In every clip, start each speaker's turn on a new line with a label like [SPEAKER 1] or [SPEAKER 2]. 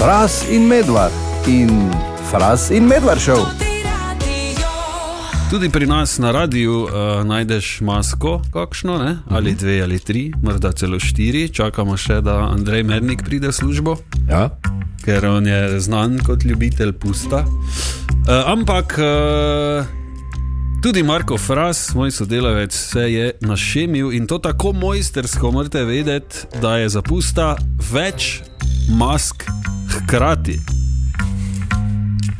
[SPEAKER 1] Fras in medvard in fras in medvard šel.
[SPEAKER 2] Tudi pri nas na radiju uh, najdeš masko, kakšno, ne? ali dve, ali tri, morda celo štiri. Čakamo še, da Andrej Mernik pride v službo,
[SPEAKER 1] Ja.
[SPEAKER 2] ker on je znan kot ljubitelj pusta. Uh, ampak uh, tudi Marko Fras, moj sodelavec, se je našemil in to tako mojstersko, morate vedeti, da je za pusta več mask hkrati.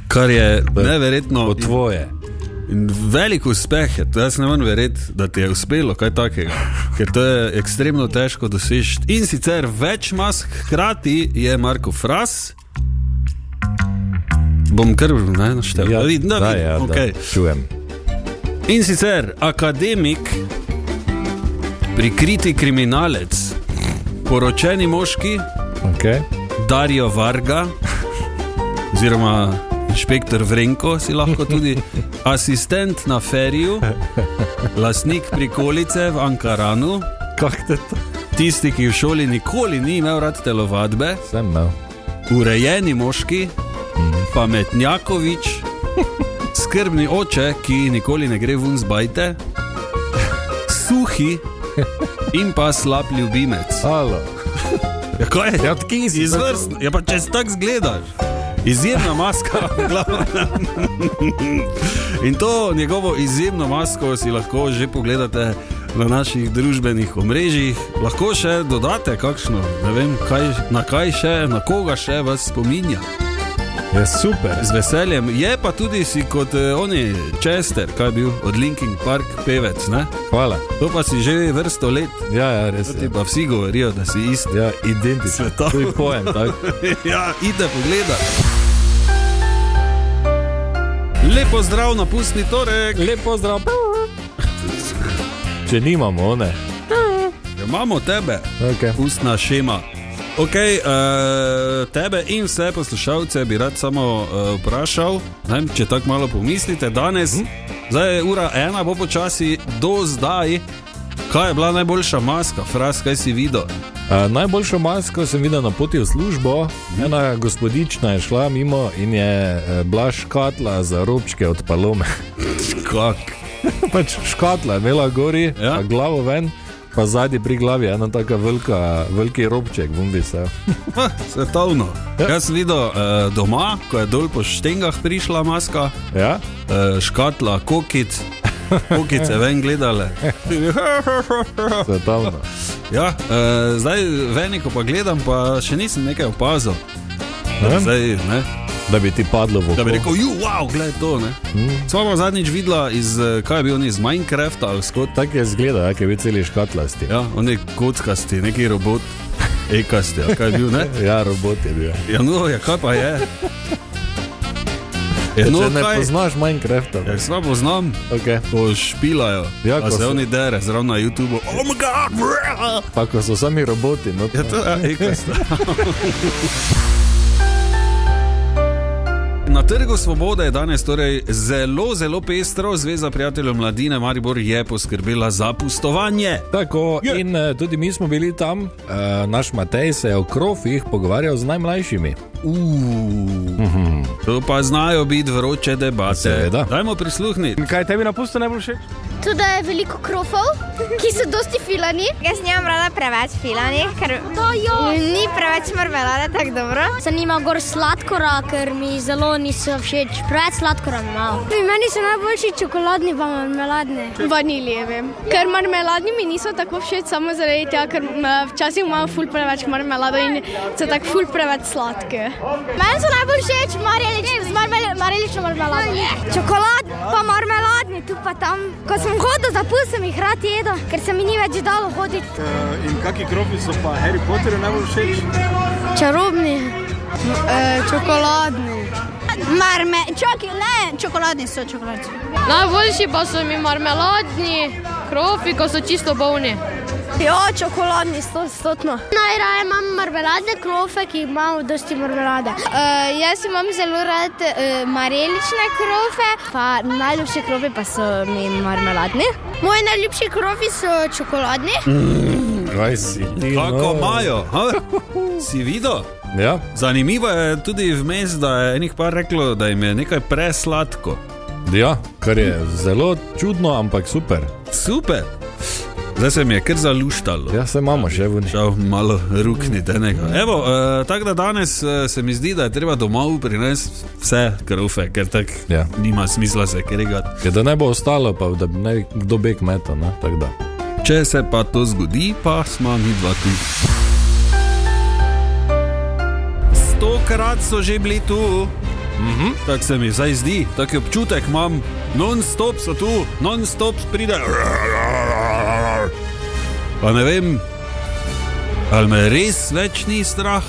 [SPEAKER 2] Kar je neverjetno.
[SPEAKER 3] Po tvoje.
[SPEAKER 2] In velik uspeh je, to jaz ne morem verjeti, da ti je uspelo kaj takega, ker to je ekstremno težko doseči. In sicer več mask hkrati je Marko Fras. Bom kar ne naštel.
[SPEAKER 3] Ja,
[SPEAKER 2] vidim, da
[SPEAKER 3] da,
[SPEAKER 2] vidim.
[SPEAKER 3] ja, da.
[SPEAKER 2] Okej.
[SPEAKER 3] Čujem.
[SPEAKER 2] In sicer akademik, prikriti kriminalec, poročeni moški,
[SPEAKER 3] Okay.
[SPEAKER 2] Darijo Varga, oziroma inšpektor Vrenko, si lahko tudi asistent na feriju, lastnik prikolice v Ankaranu,
[SPEAKER 3] Kak te to?
[SPEAKER 2] tisti, ki v šoli nikoli ni imel rad telovadbe,
[SPEAKER 3] Sem no. imel.
[SPEAKER 2] urejeni moški, pametnjakovič, skrbni oče, ki nikoli ne gre vun zbajte, suhi in pa slab ljubimec.
[SPEAKER 3] Halo.
[SPEAKER 2] Ja, kaj je?
[SPEAKER 3] Ja, tki si
[SPEAKER 2] Izvrstno, ja, pa če si tako zgledaš. Izjemna maska, v glavnem. In to njegovo izjemno masko si lahko že pogledate na naših družbenih omrežjih. Lahko še dodate kakšno, ne vem, kaj, na kaj še, na koga še vas spominja.
[SPEAKER 3] Je Ja, super.
[SPEAKER 2] Z veseljem je pa tudi si kot eh, oni, Chester, kaj je bil od Linkin Park pevec, ne?
[SPEAKER 3] Hvala.
[SPEAKER 2] To pa si že vrsto let,
[SPEAKER 3] Ja, ja, res.
[SPEAKER 2] ti
[SPEAKER 3] Je.
[SPEAKER 2] pa vsi govorijo, da si isti.
[SPEAKER 3] Ja, identičen.
[SPEAKER 2] Svetovno.
[SPEAKER 3] To je pojem. Tako.
[SPEAKER 2] ja, ide pogledat. Lepo zdrav na pustni torek.
[SPEAKER 3] Lepo zdrav. Če nimamo one.
[SPEAKER 2] Ja, Imamo tebe,
[SPEAKER 3] Okay.
[SPEAKER 2] pustna šema. Ok, uh, eh, tebe in vse poslušalce bi rad samo uh, vprašal, ne, vem, če tako malo pomislite, danes,
[SPEAKER 3] Mhm.
[SPEAKER 2] hm? zdaj je ura ena, bo počasi do zdaj. Kaj je bila najboljša maska, fras, kaj si videl?
[SPEAKER 3] Uh, najboljšo masko sem videl na poti v službo. Ena gospodična je šla mimo in je eh, bila škatla za robčke od palome.
[SPEAKER 2] Kak?
[SPEAKER 3] pač škatla je imela gori,
[SPEAKER 2] Ja.
[SPEAKER 3] ja. glavo ven, pa zadnji pri glavi je ena tako velika, veliki robček, bumbi se.
[SPEAKER 2] Ha, svetovno.
[SPEAKER 3] Ja.
[SPEAKER 2] Jaz sem videl uh, doma, ko je dol po štengah prišla maska.
[SPEAKER 3] Ja?
[SPEAKER 2] Eh, škatla, kokic, kokice ven gledale.
[SPEAKER 3] Svetovno.
[SPEAKER 2] Ja, eh, zdaj veniko pa gledam, pa še nisem nekaj opazil. Da bi,
[SPEAKER 3] Ne?
[SPEAKER 2] zdaj, ne,
[SPEAKER 3] Da bi ti padlo v
[SPEAKER 2] da bi
[SPEAKER 3] oko.
[SPEAKER 2] rekel, ju, wow, gledaj to.
[SPEAKER 3] Mm.
[SPEAKER 2] Sva pa zadnjič videla iz, eh, kaj je bil on iz Minecrafta ali skot.
[SPEAKER 3] Tako je zgleda, ja, ker je bil celi škatlasti.
[SPEAKER 2] Ja, on je kockasti, neki robot, ekasti, ali kaj je bil, ne?
[SPEAKER 3] Ja, robot je bil.
[SPEAKER 2] Ja, no, ja, kaj pa je? Ja,
[SPEAKER 3] No,
[SPEAKER 2] no,
[SPEAKER 3] Če ne kaj?
[SPEAKER 2] kaj?
[SPEAKER 3] poznaš Minecrafta,
[SPEAKER 2] Ja, sva poznam,
[SPEAKER 3] okay.
[SPEAKER 2] ko špilajo,
[SPEAKER 3] Ja,
[SPEAKER 2] ja,
[SPEAKER 3] ko
[SPEAKER 2] se
[SPEAKER 3] so-
[SPEAKER 2] oni dere, zraven na YouTubu. Oh my god! bruh!
[SPEAKER 3] pa ko so sami roboti, no,
[SPEAKER 2] Ja, to je ekasta. Na trgu Svobode je danes torej zelo, zelo pestro. Zveza prijateljev mladine Maribor je poskrbela za pustovanje.
[SPEAKER 3] Tako,
[SPEAKER 2] Je.
[SPEAKER 3] in eh, tudi mi smo bili tam, uh, naš Matej se je o krofih pogovarjal z najmlajšimi.
[SPEAKER 2] Uuu, to pa znajo biti vroče debate.
[SPEAKER 3] Mhm. Seveda.
[SPEAKER 2] Dajmo prisluhniti.
[SPEAKER 4] Kaj tebi na pustu najbolj všeč?
[SPEAKER 5] Tudi da je veliko krofov, ki so dosti filani.
[SPEAKER 6] Jaz nimam rada preveč filanih, ker
[SPEAKER 5] To jo.
[SPEAKER 6] ni preveč marmelade tako dobro.
[SPEAKER 5] Zanima me gor sladkora, ker mi zelo niso všeč. Preveč sladkora imamo. Meni so najboljši čokoladni, pa marmeladni.
[SPEAKER 7] Vanilijeve. Ker marmeladni mi niso tako všeč, samo zaradi tega, ker m, včasih imajo ful preveč marmelado in so tako ful preveč sladke.
[SPEAKER 5] Meni so najbolj všeč marelični, z marelično marmelado. Čokolad, pa marmeladni, tu pa tam. Ko sem hodil za pus, sem jih rad jedel, ker se mi ni več dalo hoditi.
[SPEAKER 4] In kaki krofi so pa Harry Potterju najbolj všeč?
[SPEAKER 5] Čarobni.
[SPEAKER 7] E, Čokoladni.
[SPEAKER 6] Marme, čoki, ne, čokoladni so čokoladni.
[SPEAKER 8] Najboljši pa so mi marmeladni, krofi, ko so čisto bolni.
[SPEAKER 7] Ja, čokoladni, stotno.
[SPEAKER 5] Najraje imam marmeladne krofe, ki imajo dosti marmelade.
[SPEAKER 6] Uh, jaz imam zelo rad uh, marelične krofe, pa najljubše krofe pa so mi marmeladni. Moji najljubši krofi so čokoladni.
[SPEAKER 3] Kaj si ti?
[SPEAKER 2] Kako
[SPEAKER 3] no?
[SPEAKER 2] imajo? ha? Si videl?
[SPEAKER 3] Ja.
[SPEAKER 2] Zanimivo je tudi vmes, da je enih par reklo, da jim je nekaj presladko.
[SPEAKER 3] ja, kar je zelo čudno, ampak super.
[SPEAKER 2] Super. Zdaj se mi je kar zaluštalo.
[SPEAKER 3] Ja, se imamo še v
[SPEAKER 2] Žal malo ruknite. Evo, uh, tako da danes uh, se mi zdi, da je treba domov prinesti vse krofe, ker tako
[SPEAKER 3] Ja.
[SPEAKER 2] nima smisla se kregati.
[SPEAKER 3] nečem. Ja, Da ne bo ostalo, pa da bi ne kdo beg meta. Ne? Tako da.
[SPEAKER 2] Če se pa to zgodi, pa smo mi dva tu. Stokrat so že bili tu. Mm -hmm. Tako se mi zdaj zdi, tako je občutek imam, non-stop so tu, non-stop pride. Pa ne vem, ali me res več ni strah,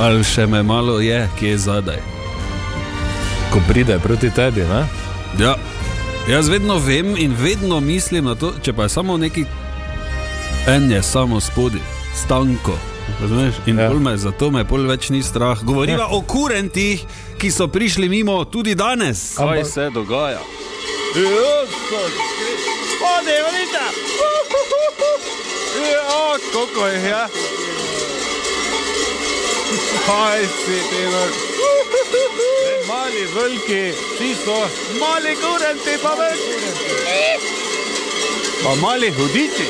[SPEAKER 2] ali še me malo je, ki je zadaj.
[SPEAKER 3] Ko pride proti tebi, ne?
[SPEAKER 2] Ja. Jaz vedno vem in vedno mislim na to, če pa je samo neki en je samo spodaj, stanko. Razumeš? In
[SPEAKER 3] Ja.
[SPEAKER 2] ja. me, zato me pol več ni strah. Govoriva ja. o kurentih, ki so prišli mimo tudi danes.
[SPEAKER 3] Ampak-
[SPEAKER 2] se dogaja?
[SPEAKER 4] Koliko je ja? Kaj si ti nor? Mali, veliki, vsi so. Mali kurenti pa veliki. Pa mali hudiči.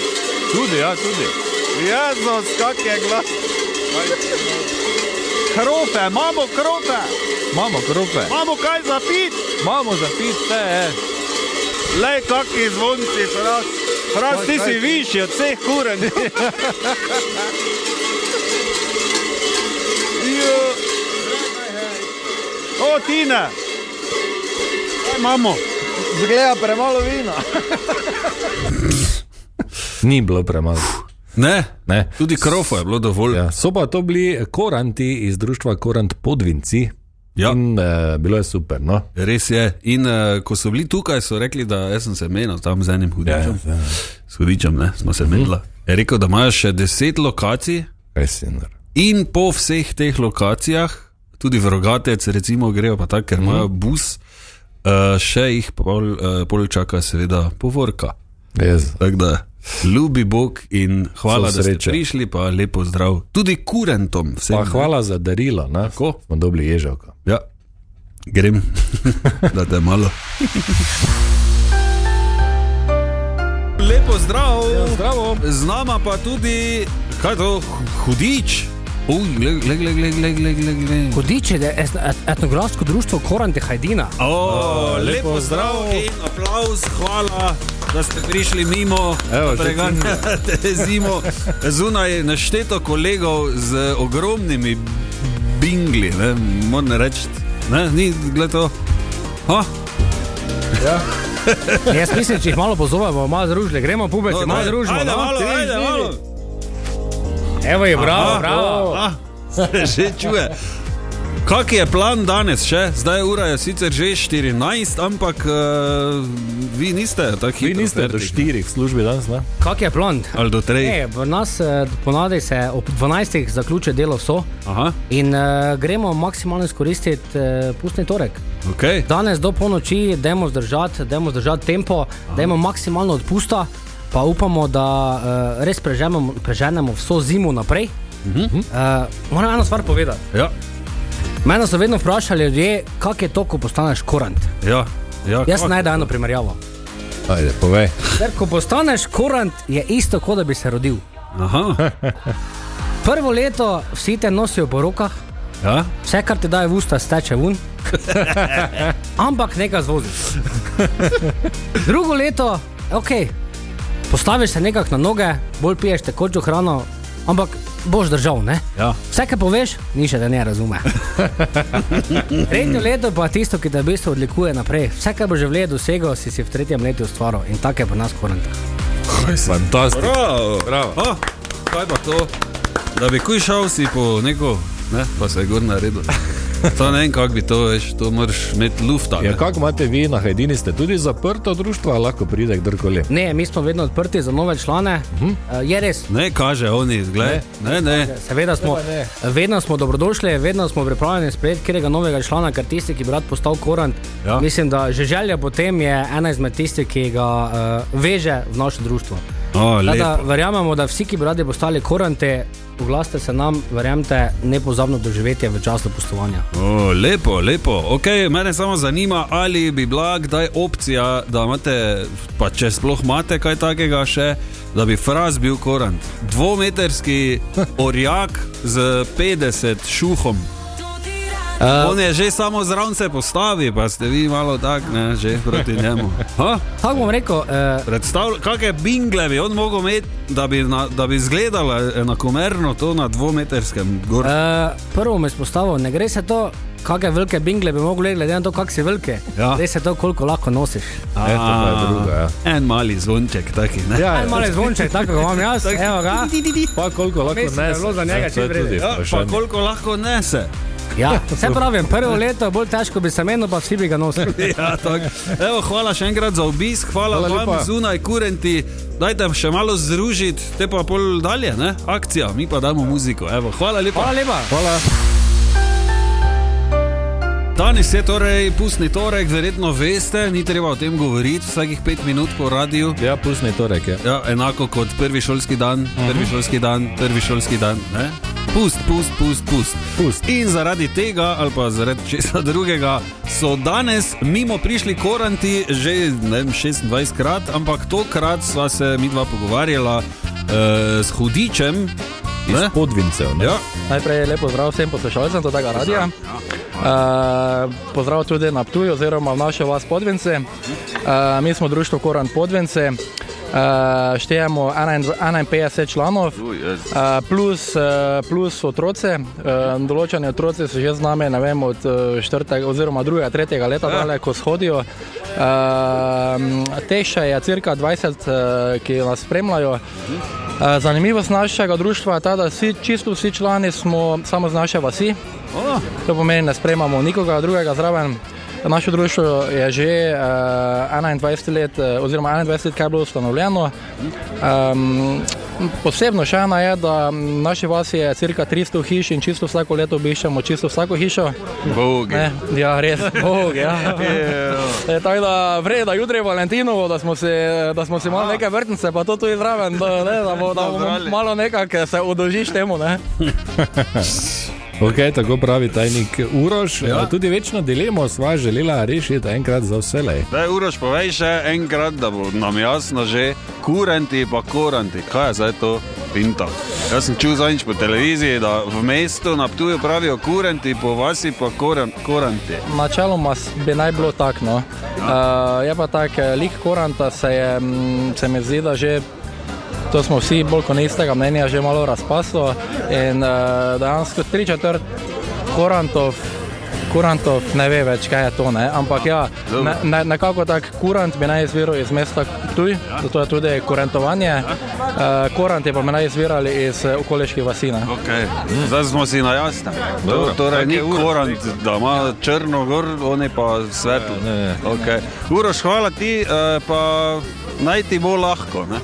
[SPEAKER 4] Tudi, ja, tudi. Jezus, kak je glas. Krope, imamo krope. Imamo krope. Imamo kaj za pit. Imamo za pit, vse e. je. Lej, kakšni zvonci, Fras. Fras, ti si višji od vseh kurentov. Jo. O, Tina! Kaj imamo?
[SPEAKER 1] Zgleda premalo vina.
[SPEAKER 3] Ni bilo premalo.
[SPEAKER 2] Ne,
[SPEAKER 3] Ne.
[SPEAKER 2] tudi krofo je bilo dovolj. Ja.
[SPEAKER 3] Ja, so pa to bili koranti iz društva Korant Podvinci.
[SPEAKER 2] Ja.
[SPEAKER 3] In eh, bilo je super. No?
[SPEAKER 2] Res je. In uh, ko so bili tukaj, so rekli, da jaz sem se menil tam z enim hudičem. Ja, ja, ja. S hudičem ne, smo se menili. Je rekel, da imajo še deset lokacij.
[SPEAKER 3] Kaj si nar.
[SPEAKER 2] In po vseh teh lokacijah, tudi v rogatec, recimo, grejo pa tako, ker imajo bus, uh, še jih pol, uh, pol čaka, seveda, povorka.
[SPEAKER 3] Jaz.
[SPEAKER 2] Tako da, ljubi Bog in hvala,
[SPEAKER 3] Vso
[SPEAKER 2] da ste
[SPEAKER 3] srečo.
[SPEAKER 2] prišli, pa lepo zdrav. Tudi kurentom, vsem.
[SPEAKER 3] Pa hvala za darilo, ne?
[SPEAKER 2] Tako.
[SPEAKER 3] Smo dobili ježavko.
[SPEAKER 2] Ja, grem, da te malo. Lepo zdrav. Ja, zdravo. Z nama pa tudi, kaj je to, hudič. Uj, gled, gled, gled, gled, gled, gled.
[SPEAKER 9] Hudiče, da je etno- etnografsko društvo Korante Hajdina.
[SPEAKER 2] O, lepo zdrav in aplauz, hvala, da ste prišli mimo,
[SPEAKER 3] Evo, že
[SPEAKER 2] preganjate zimo. Zunaj je našteto kolegov z ogromnimi bingli, ne, moram reči, ne, ni gled to. Ha?
[SPEAKER 9] Jaz mislim, če jih malo pozovemo, malo družile, gremo pubek,
[SPEAKER 2] No,
[SPEAKER 9] malo
[SPEAKER 2] daj,
[SPEAKER 9] družimo.
[SPEAKER 2] ajde,
[SPEAKER 9] no?
[SPEAKER 2] malo,
[SPEAKER 9] Tri,
[SPEAKER 2] ajde,
[SPEAKER 9] štiri.
[SPEAKER 2] malo.
[SPEAKER 9] Evo je, bravo, bravo.
[SPEAKER 2] Ah, se že čuje. Kak je plan danes še? Zdaj ura je sicer že 14, ampak uh, vi niste tako
[SPEAKER 3] Vi
[SPEAKER 2] hitro
[SPEAKER 3] niste do
[SPEAKER 2] fertik.
[SPEAKER 3] štirih v službi danes, ne?
[SPEAKER 9] Kak je plan?
[SPEAKER 2] Ali do 3.
[SPEAKER 9] Ne, v nas eh, ponavadi se ob 12. zaključi delo vso
[SPEAKER 2] Aha,
[SPEAKER 9] in uh, gremo maksimalno izkoristiti uh, pustni torek.
[SPEAKER 2] ok.
[SPEAKER 9] Danes do polnoči, dajmo zdržati, dajmo zdržati tempo, dajmo maksimalno odpusta, pa upamo, da uh, res preženemo, preženemo vso zimo naprej. Uh
[SPEAKER 2] Mhm.
[SPEAKER 9] -huh. uh, moram eno stvar povedati.
[SPEAKER 2] Ja,
[SPEAKER 9] Mene so vedno vprašali ljudje, kako je to, ko postaneš korant.
[SPEAKER 2] ja, ja,
[SPEAKER 9] Jaz
[SPEAKER 2] kak?
[SPEAKER 9] najdem eno primerjavo.
[SPEAKER 3] Ajde, povej.
[SPEAKER 9] Ker ko postaneš korant, je isto, kot da bi se rodil.
[SPEAKER 2] Aha,
[SPEAKER 9] Prvo leto vsi te nosijo po rokah,
[SPEAKER 2] ja.
[SPEAKER 9] vse, kar ti daje v usta, steče ven. Ampak nekaj zvoziš. Drugo leto, ok, postaviš se nekako na noge, bolj piješ tekočo hrano, ampak boš držal, ne?
[SPEAKER 2] ja.
[SPEAKER 9] Vse, kar poveš, ni še da ne razume. Tretjo leto pa je tisto, ki te v bistvu odlikuje naprej. Vse, kar bo že v letu dosegel, si si v tretjem letu ustvaril in tako je pri nas korenta.
[SPEAKER 3] Fantastično.
[SPEAKER 2] Bravo.
[SPEAKER 3] Bravo.
[SPEAKER 2] Oh, kaj pa to? Da bi kuj šel si po neko, ne, pa se je gor naredil. To ne vem, kako bi to veš, to moraš imeti lufta. ne.
[SPEAKER 3] Ja, kako imate vi na Hajdini, ste tudi zaprto društvo, ali lahko pride kdorkoli?
[SPEAKER 9] Ne, mi smo vedno odprti za nove člane. Uh -huh. Je res,
[SPEAKER 2] Ne, kaže oni, gled. Ne, ne.
[SPEAKER 9] seveda smo,
[SPEAKER 3] ne.
[SPEAKER 9] vedno smo dobrodošli, vedno smo pripravljeni sprejeti katerega novega člana, ker tisti, ki bi rad postal korant,
[SPEAKER 2] Ja.
[SPEAKER 10] eh,
[SPEAKER 9] mislim, da že želja potem je ena izmed tistih, ki ga uh, veže v naše društvo.
[SPEAKER 2] O,
[SPEAKER 10] Tako Da,
[SPEAKER 2] lepo.
[SPEAKER 10] verjamemo, da vsi, ki bi radi postali korante, oglaste se nam, verjamete, nepozabno doživetje v času postovanja.
[SPEAKER 2] O, lepo, lepo. Okay, mene samo zanima, ali bi bila kdaj opcija, da imate, pa če sploh imate kaj takega še, da bi fraz bil korant. Dvometrski orjak z 50 šuhom. Uh, On je že samo zraven se postavi, pa ste vi malo tak, ne, že proti njemu. Ha?
[SPEAKER 10] Tako bom rekel, eh,
[SPEAKER 2] Predstavljaj, kakšne bingle bi on mogel imeti, da bi, na, da bi izgledala enakomerno to na dvometrskem gor.
[SPEAKER 10] eh, prvo me spostavil, ne gre se to, kakšne velike bingle bi mogli, glede na to, kak si velike.
[SPEAKER 2] Ja.
[SPEAKER 10] Gre se to, koliko lahko nosiš.
[SPEAKER 3] to pa je drugo, ja.
[SPEAKER 2] En mali zvonček, taki, ne?
[SPEAKER 3] Ja,
[SPEAKER 10] En mali zvonček, tako ga imam jaz, evo ga.
[SPEAKER 3] Pa koliko lahko
[SPEAKER 10] Mislim, da je
[SPEAKER 3] neseš,
[SPEAKER 10] bilo za njega
[SPEAKER 3] ne, to je
[SPEAKER 10] čim
[SPEAKER 3] tudi
[SPEAKER 10] vredno.
[SPEAKER 2] Ja, pa
[SPEAKER 3] vprašanje.
[SPEAKER 2] koliko lahko nese?
[SPEAKER 10] Ja, se pravi, prvo leto je bolj težko bi se menil, pa vsi bi ga nosili.
[SPEAKER 2] Ja, tako. Evo, hvala še enkrat za obisk, hvala,
[SPEAKER 3] Hvala
[SPEAKER 2] hvala vam
[SPEAKER 3] lepa.
[SPEAKER 2] lepa. zunaj, kurenti. Dajte še malo združiti, te pa pol dalje, ne? akcija, mi pa damo muziko. Evo, hvala lepa.
[SPEAKER 10] Hvala lepa.
[SPEAKER 3] Hvala.
[SPEAKER 2] Danes je torej pustni torek, verjetno veste, ni treba o tem govoriti, vsakih pet minut po radiju.
[SPEAKER 3] Ja, pustni torek je.
[SPEAKER 2] Ja, enako kot prvi šolski dan, prvi šolski dan, prvi šolski dan. Ne? Pust, pust, pust, pust.
[SPEAKER 3] Pust.
[SPEAKER 2] In zaradi tega, ali pa zaradi česa drugega, so danes mimo prišli koranti že ne vem, 26 krat, ampak tokrat sva se mi dva pogovarjala eh, s hudičem. Ne?
[SPEAKER 3] Podvincev, ne?
[SPEAKER 2] Ja,
[SPEAKER 9] Najprej lep pozdrav vsem poslušalcem tega radia. Uh, pozdrav tudi na Ptuju, oziroma v naši vas Podvence. Uh, mi smo društvo Koran Podvence. Uh, štejemo 21 51 članov, uh, plus, uh, plus otroce. Uh, določeni otroci so že z nami, ne vem, od 4. oziroma 2. 3. leta dalje, ko shodijo. Uh, Teša je cirka 20, uh, ki nas spremljajo. Eh, Zanimivost našega društva je ta, da vsi, čisto vsi člani smo samo iz naše vasi. To pomeni, ne sprejemamo nikogar drugega zraven. Naše društvo je že eh, 21 let, eh, oziroma 21 let, kaj je bilo ustanovljeno. Um, posebno še ena je, da v naši vasi je cirka 300 hiš in čisto vsako leto obiščemo čisto vsako hišo.
[SPEAKER 2] bogi.
[SPEAKER 9] Ne, ja, res, bog, ja. E, tako da vreda, jutri je Valentinovo, da smo si, da smo si malo neke vrtnice, pa to tudi zraven, da, ne, da, bo, da bomo malo nekako se odožiš temu. Ne.
[SPEAKER 3] Ok, tako pravi tajnik Uroš. Ja. Tudi večno dilemo sva želela rešiti enkrat za vselej.
[SPEAKER 2] Daj, Uroš, povej še enkrat, da bo nam jasno že, kurenti pa koranti, kaj je zdaj to pinta. Jaz sem čutil zadnjič po televiziji, da v mestu na Ptuju pravijo kurenti, po vasi pa koran, koranti.
[SPEAKER 9] Načeloma s- bi naj bilo tako. No. Uh, je pa tak, eh, lik Koranta se, je, mm, se mi zdi, da že. To smo vsi bolj kot istega mnenja že malo razpaslo in uh, dejansko tri četrt korantov, korantov ne ve več, kaj je to. Ne? Ampak ja, ne, ne, nekako tak kurant bi naj izviral iz mesta Tuj, zato je tudi korentovanje. Uh, koranti pa bi naj izvirali iz eh, okoliških vasine.
[SPEAKER 2] Okay. Zdaj smo si na jasnem. To, torej ni korant, da ima črno gor, oni pa svetlo. Okay. Uroš, hvala ti, eh, pa naj ti bo lahko. Ne?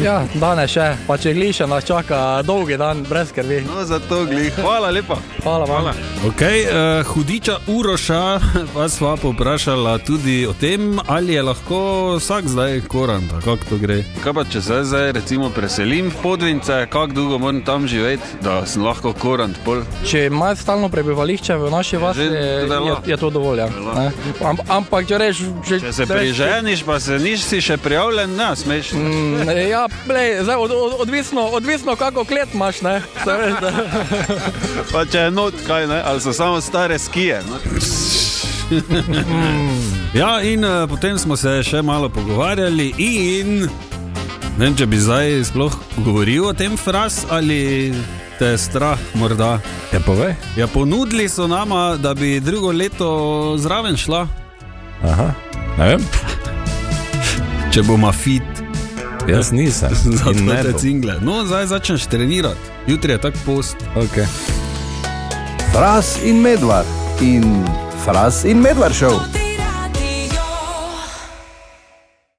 [SPEAKER 9] Ja, danes še, pa če gliše nas čaka dolgi dan brez skrbi.
[SPEAKER 2] No, zato glih. Hvala lepa.
[SPEAKER 9] Hvala vam. Hvala.
[SPEAKER 2] Okay, uh, hudiča Uroša vas sva povprašala tudi o tem, ali je lahko vsak zdaj koran, kako to gre. Kaj pa če se zdaj recimo preselim v Podvince, kako dolgo moram tam živeti, da sem lahko koran pol?
[SPEAKER 9] Če imaš stalno prebivališče v naši vasi,
[SPEAKER 2] že
[SPEAKER 9] je, je,
[SPEAKER 2] velja.
[SPEAKER 9] je to dovolj. Ja.
[SPEAKER 2] Velja.
[SPEAKER 9] Ne? Am, ampak če rečeš, že
[SPEAKER 2] Če Ja se priženiš, pa se nisi še prijavljen, ne smeš.
[SPEAKER 9] Mm, ja, plej, zdaj, od, od, odvisno, odvisno, kako klet imaš. Ne? Saj Veš, da,
[SPEAKER 2] Pa če je not, kaj ne, ali so samo stare skije. ja, in uh, potem smo se še malo pogovarjali in ne vem, če bi zdaj sploh govoril o tem fras ali te je strah morda.
[SPEAKER 3] Ja, povej.
[SPEAKER 2] Ja, ponudili so nama, da bi drugo leto zraven šla,
[SPEAKER 3] Aha. Ne vem,
[SPEAKER 2] če bo mafit.
[SPEAKER 3] jaz nisem. In
[SPEAKER 2] Zato
[SPEAKER 3] ne
[SPEAKER 2] te
[SPEAKER 3] bom.
[SPEAKER 2] cingle. No, zdaj začneš trenirati. Jutri je tak post.
[SPEAKER 3] Okay.
[SPEAKER 1] Fras in Medvard in Fras in Medvard šov.